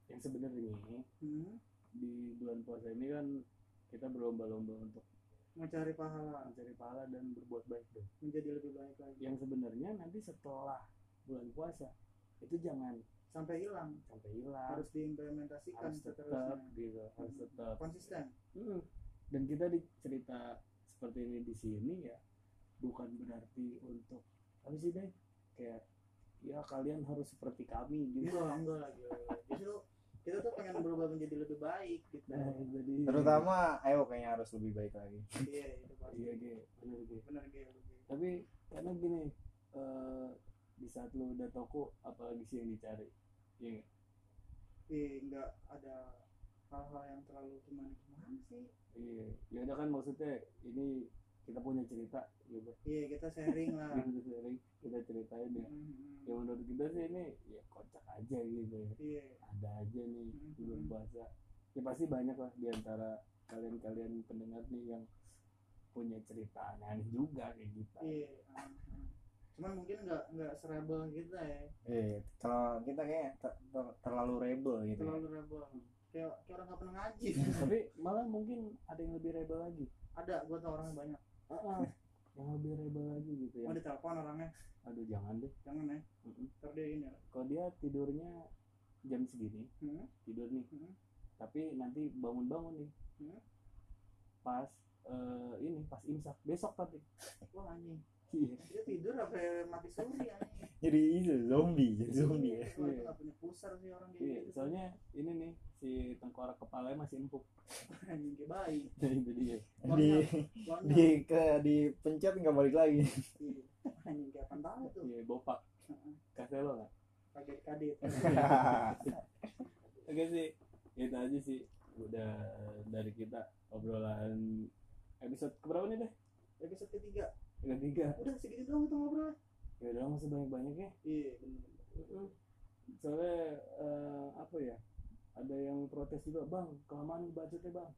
S6: yang sebenarnya
S2: Hmm.
S6: di bulan puasa ini kan kita berlomba-lomba untuk
S2: Mencari pahala
S6: mencari pahala dan berbuat baik dong
S2: menjadi lebih baik lagi
S6: yang sebenarnya nanti setelah bulan puasa itu jangan
S2: sampai hilang
S6: sampai hilang
S2: harus diimplementasikan
S6: harus tetap
S2: seterusnya
S6: gitu harus
S2: Hmm.
S6: tetap
S2: konsisten
S6: Mm. dan kita di cerita seperti ini di sini ya bukan berarti untuk apa sih deh kayak ya kalian harus seperti kami gitu
S2: enggak enggak lagi justru kita tuh pengen berubah menjadi lebih baik gitu
S6: nah jadi
S3: terutama ayo kayaknya harus lebih baik lagi
S2: iya itu pasti
S6: iya Ge, bener Ge.
S2: benar gitu
S6: tapi karena gini eh di saat lu udah toko apalagi sih yang dicari Iya nggak?
S2: iya enggak ada hal-hal yang terlalu gimana gimana sih
S6: iya ya udah kan maksudnya ini kita punya cerita gitu
S2: iya kita sharing lah
S6: Kita sharing, kita ceritain ya
S2: Mhm.
S6: ya menurut kita sih ini ya kocak aja gitu ya
S2: iya
S6: ada aja nih
S2: Mhm.
S6: bulan puasa ya pasti banyak lah diantara kalian-kalian pendengar nih yang punya cerita aneh juga kayak gitu. kita
S2: iya Mhm. cuman mungkin enggak enggak serebel kita
S6: Iya.
S2: ya
S3: eh kalau kita kayak ter- ter- terlalu rebel gitu ya.
S1: Iya.
S2: terlalu rebel kayak kayak orang nggak pernah ngaji
S6: tapi malah mungkin ada yang lebih rebel lagi
S2: ada gue tau orang banyak
S6: Ah, ah, yang lebih rebel lagi gitu ya
S2: mau ditelepon orangnya
S6: aduh jangan deh
S2: jangan ya
S6: Mhm.
S2: ntar dia ini
S6: kalau dia tidurnya jam segini
S2: Hmm?
S6: tidur nih
S2: Mhm.
S6: tapi nanti bangun-bangun nih
S2: Mhm.
S6: pas eh, ini pas imsak besok tapi
S2: wah anjing
S6: iya
S2: dia tidur sampai mati suri anjing
S3: jadi itu zombie jadi zombie ya
S2: Iya, Wah, itu nggak punya pusar sih orang kayak
S6: Iya,
S2: gitu.
S6: soalnya ini nih si tengkorak kepalanya masih empuk.
S2: anjing kayak
S3: Iya.
S2: bayi.
S6: Jadi dia.
S3: di
S2: Warna-
S3: di ke di pencet nggak balik lagi
S2: Iya. Anjing kayak apaan tahu tuh.
S6: Iya, bopak. Kaselo lah.
S2: Kaget kaget.
S3: Iya.
S6: Oke sih, itu aja sih. Udah eh, dari kita obrolan episode keberapa nih deh?
S2: Episode ketiga.
S6: Udah tiga.
S2: Udah segitu doang kita ngobrol.
S6: Ya udah masih banyak banyak ya.
S2: Iya benar.
S6: Soalnya eh, apa ya? Ada yang protes juga, bang. Kelamaan bacotnya bang.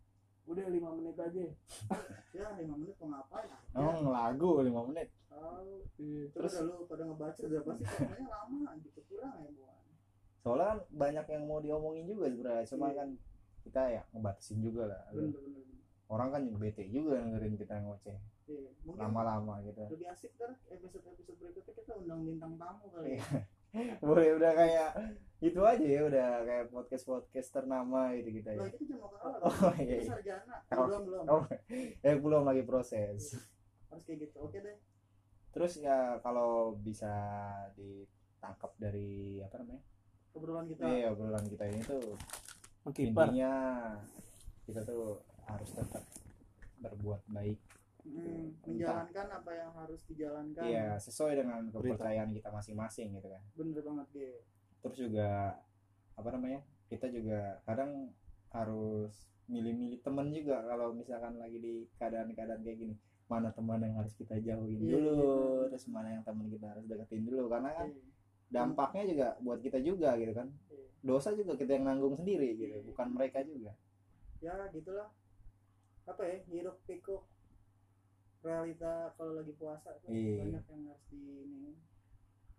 S6: Udah lima menit aja.
S2: Ya lima menit mau ngapain? Ya,
S3: emang lagu lima menit
S2: tahu.
S6: Iya.
S2: Coba dah lu pada ngebaca udah pasti kayaknya lama gitu kurang ya buan.
S3: soalnya kan banyak yang mau diomongin juga sebenarnya cuma
S2: Iya.
S3: kan kita ya ngebatasin juga lah
S2: Bener bener. bener.
S3: orang kan yang bete juga dengerin kita ngoceh
S2: Iya, mungkin
S3: lama-lama gitu
S2: lebih asik ntar episode episode berikutnya kita undang bintang tamu kali
S3: Iya.
S2: ya
S3: boleh udah kayak itu aja ya udah kayak podcast podcast ternama gitu gitu
S2: lo
S3: ya
S2: itu cuma kalah
S3: oh, oh, iya,
S2: itu
S3: iya.
S2: sarjana
S3: Oh.
S2: belum belum
S3: Oh. yang belum lagi proses
S2: harus kayak gitu oke deh
S3: terus ya kalau bisa ditangkap dari apa namanya
S2: kebetulan kita
S3: iya obrolan kita ini tuh
S6: mengkiper
S3: intinya kita tuh harus tetap berbuat baik
S2: mm, menjalankan apa yang harus dijalankan
S3: Gitu. Iya, sesuai dengan
S1: Berita.
S3: kepercayaan kita masing-masing gitu kan.
S2: bener banget dia
S3: Terus juga apa namanya? Kita juga kadang harus milih-milih temen juga kalau misalkan lagi di keadaan-keadaan kayak gini. Mana teman yang harus kita jauhin
S2: Iya,
S3: dulu,
S2: iya.
S3: terus mana yang teman kita harus deketin dulu karena kan
S2: Iya.
S3: dampaknya juga buat kita juga gitu kan.
S2: Iya.
S3: Dosa juga kita yang nanggung sendiri gitu, bukan mereka juga.
S2: ya gitulah apa ya hiruk pikuk realita kalau lagi puasa tuh
S3: Iya. Oh.
S2: banyak yang harus di ini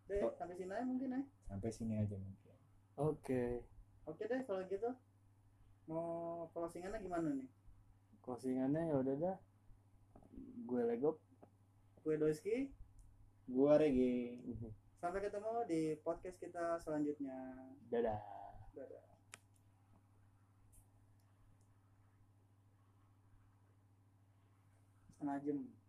S2: deh
S3: Tuh.
S2: sampai sini aja mungkin ya
S3: Sampai sini aja mungkin.
S6: oke
S2: oke deh kalau gitu mau closingannya gimana nih
S6: closingannya ya udah dah gue legop
S2: gue Doski
S3: Gua Regi.
S2: sampai ketemu di podcast kita selanjutnya
S6: dadah
S2: Dadah. setengah jam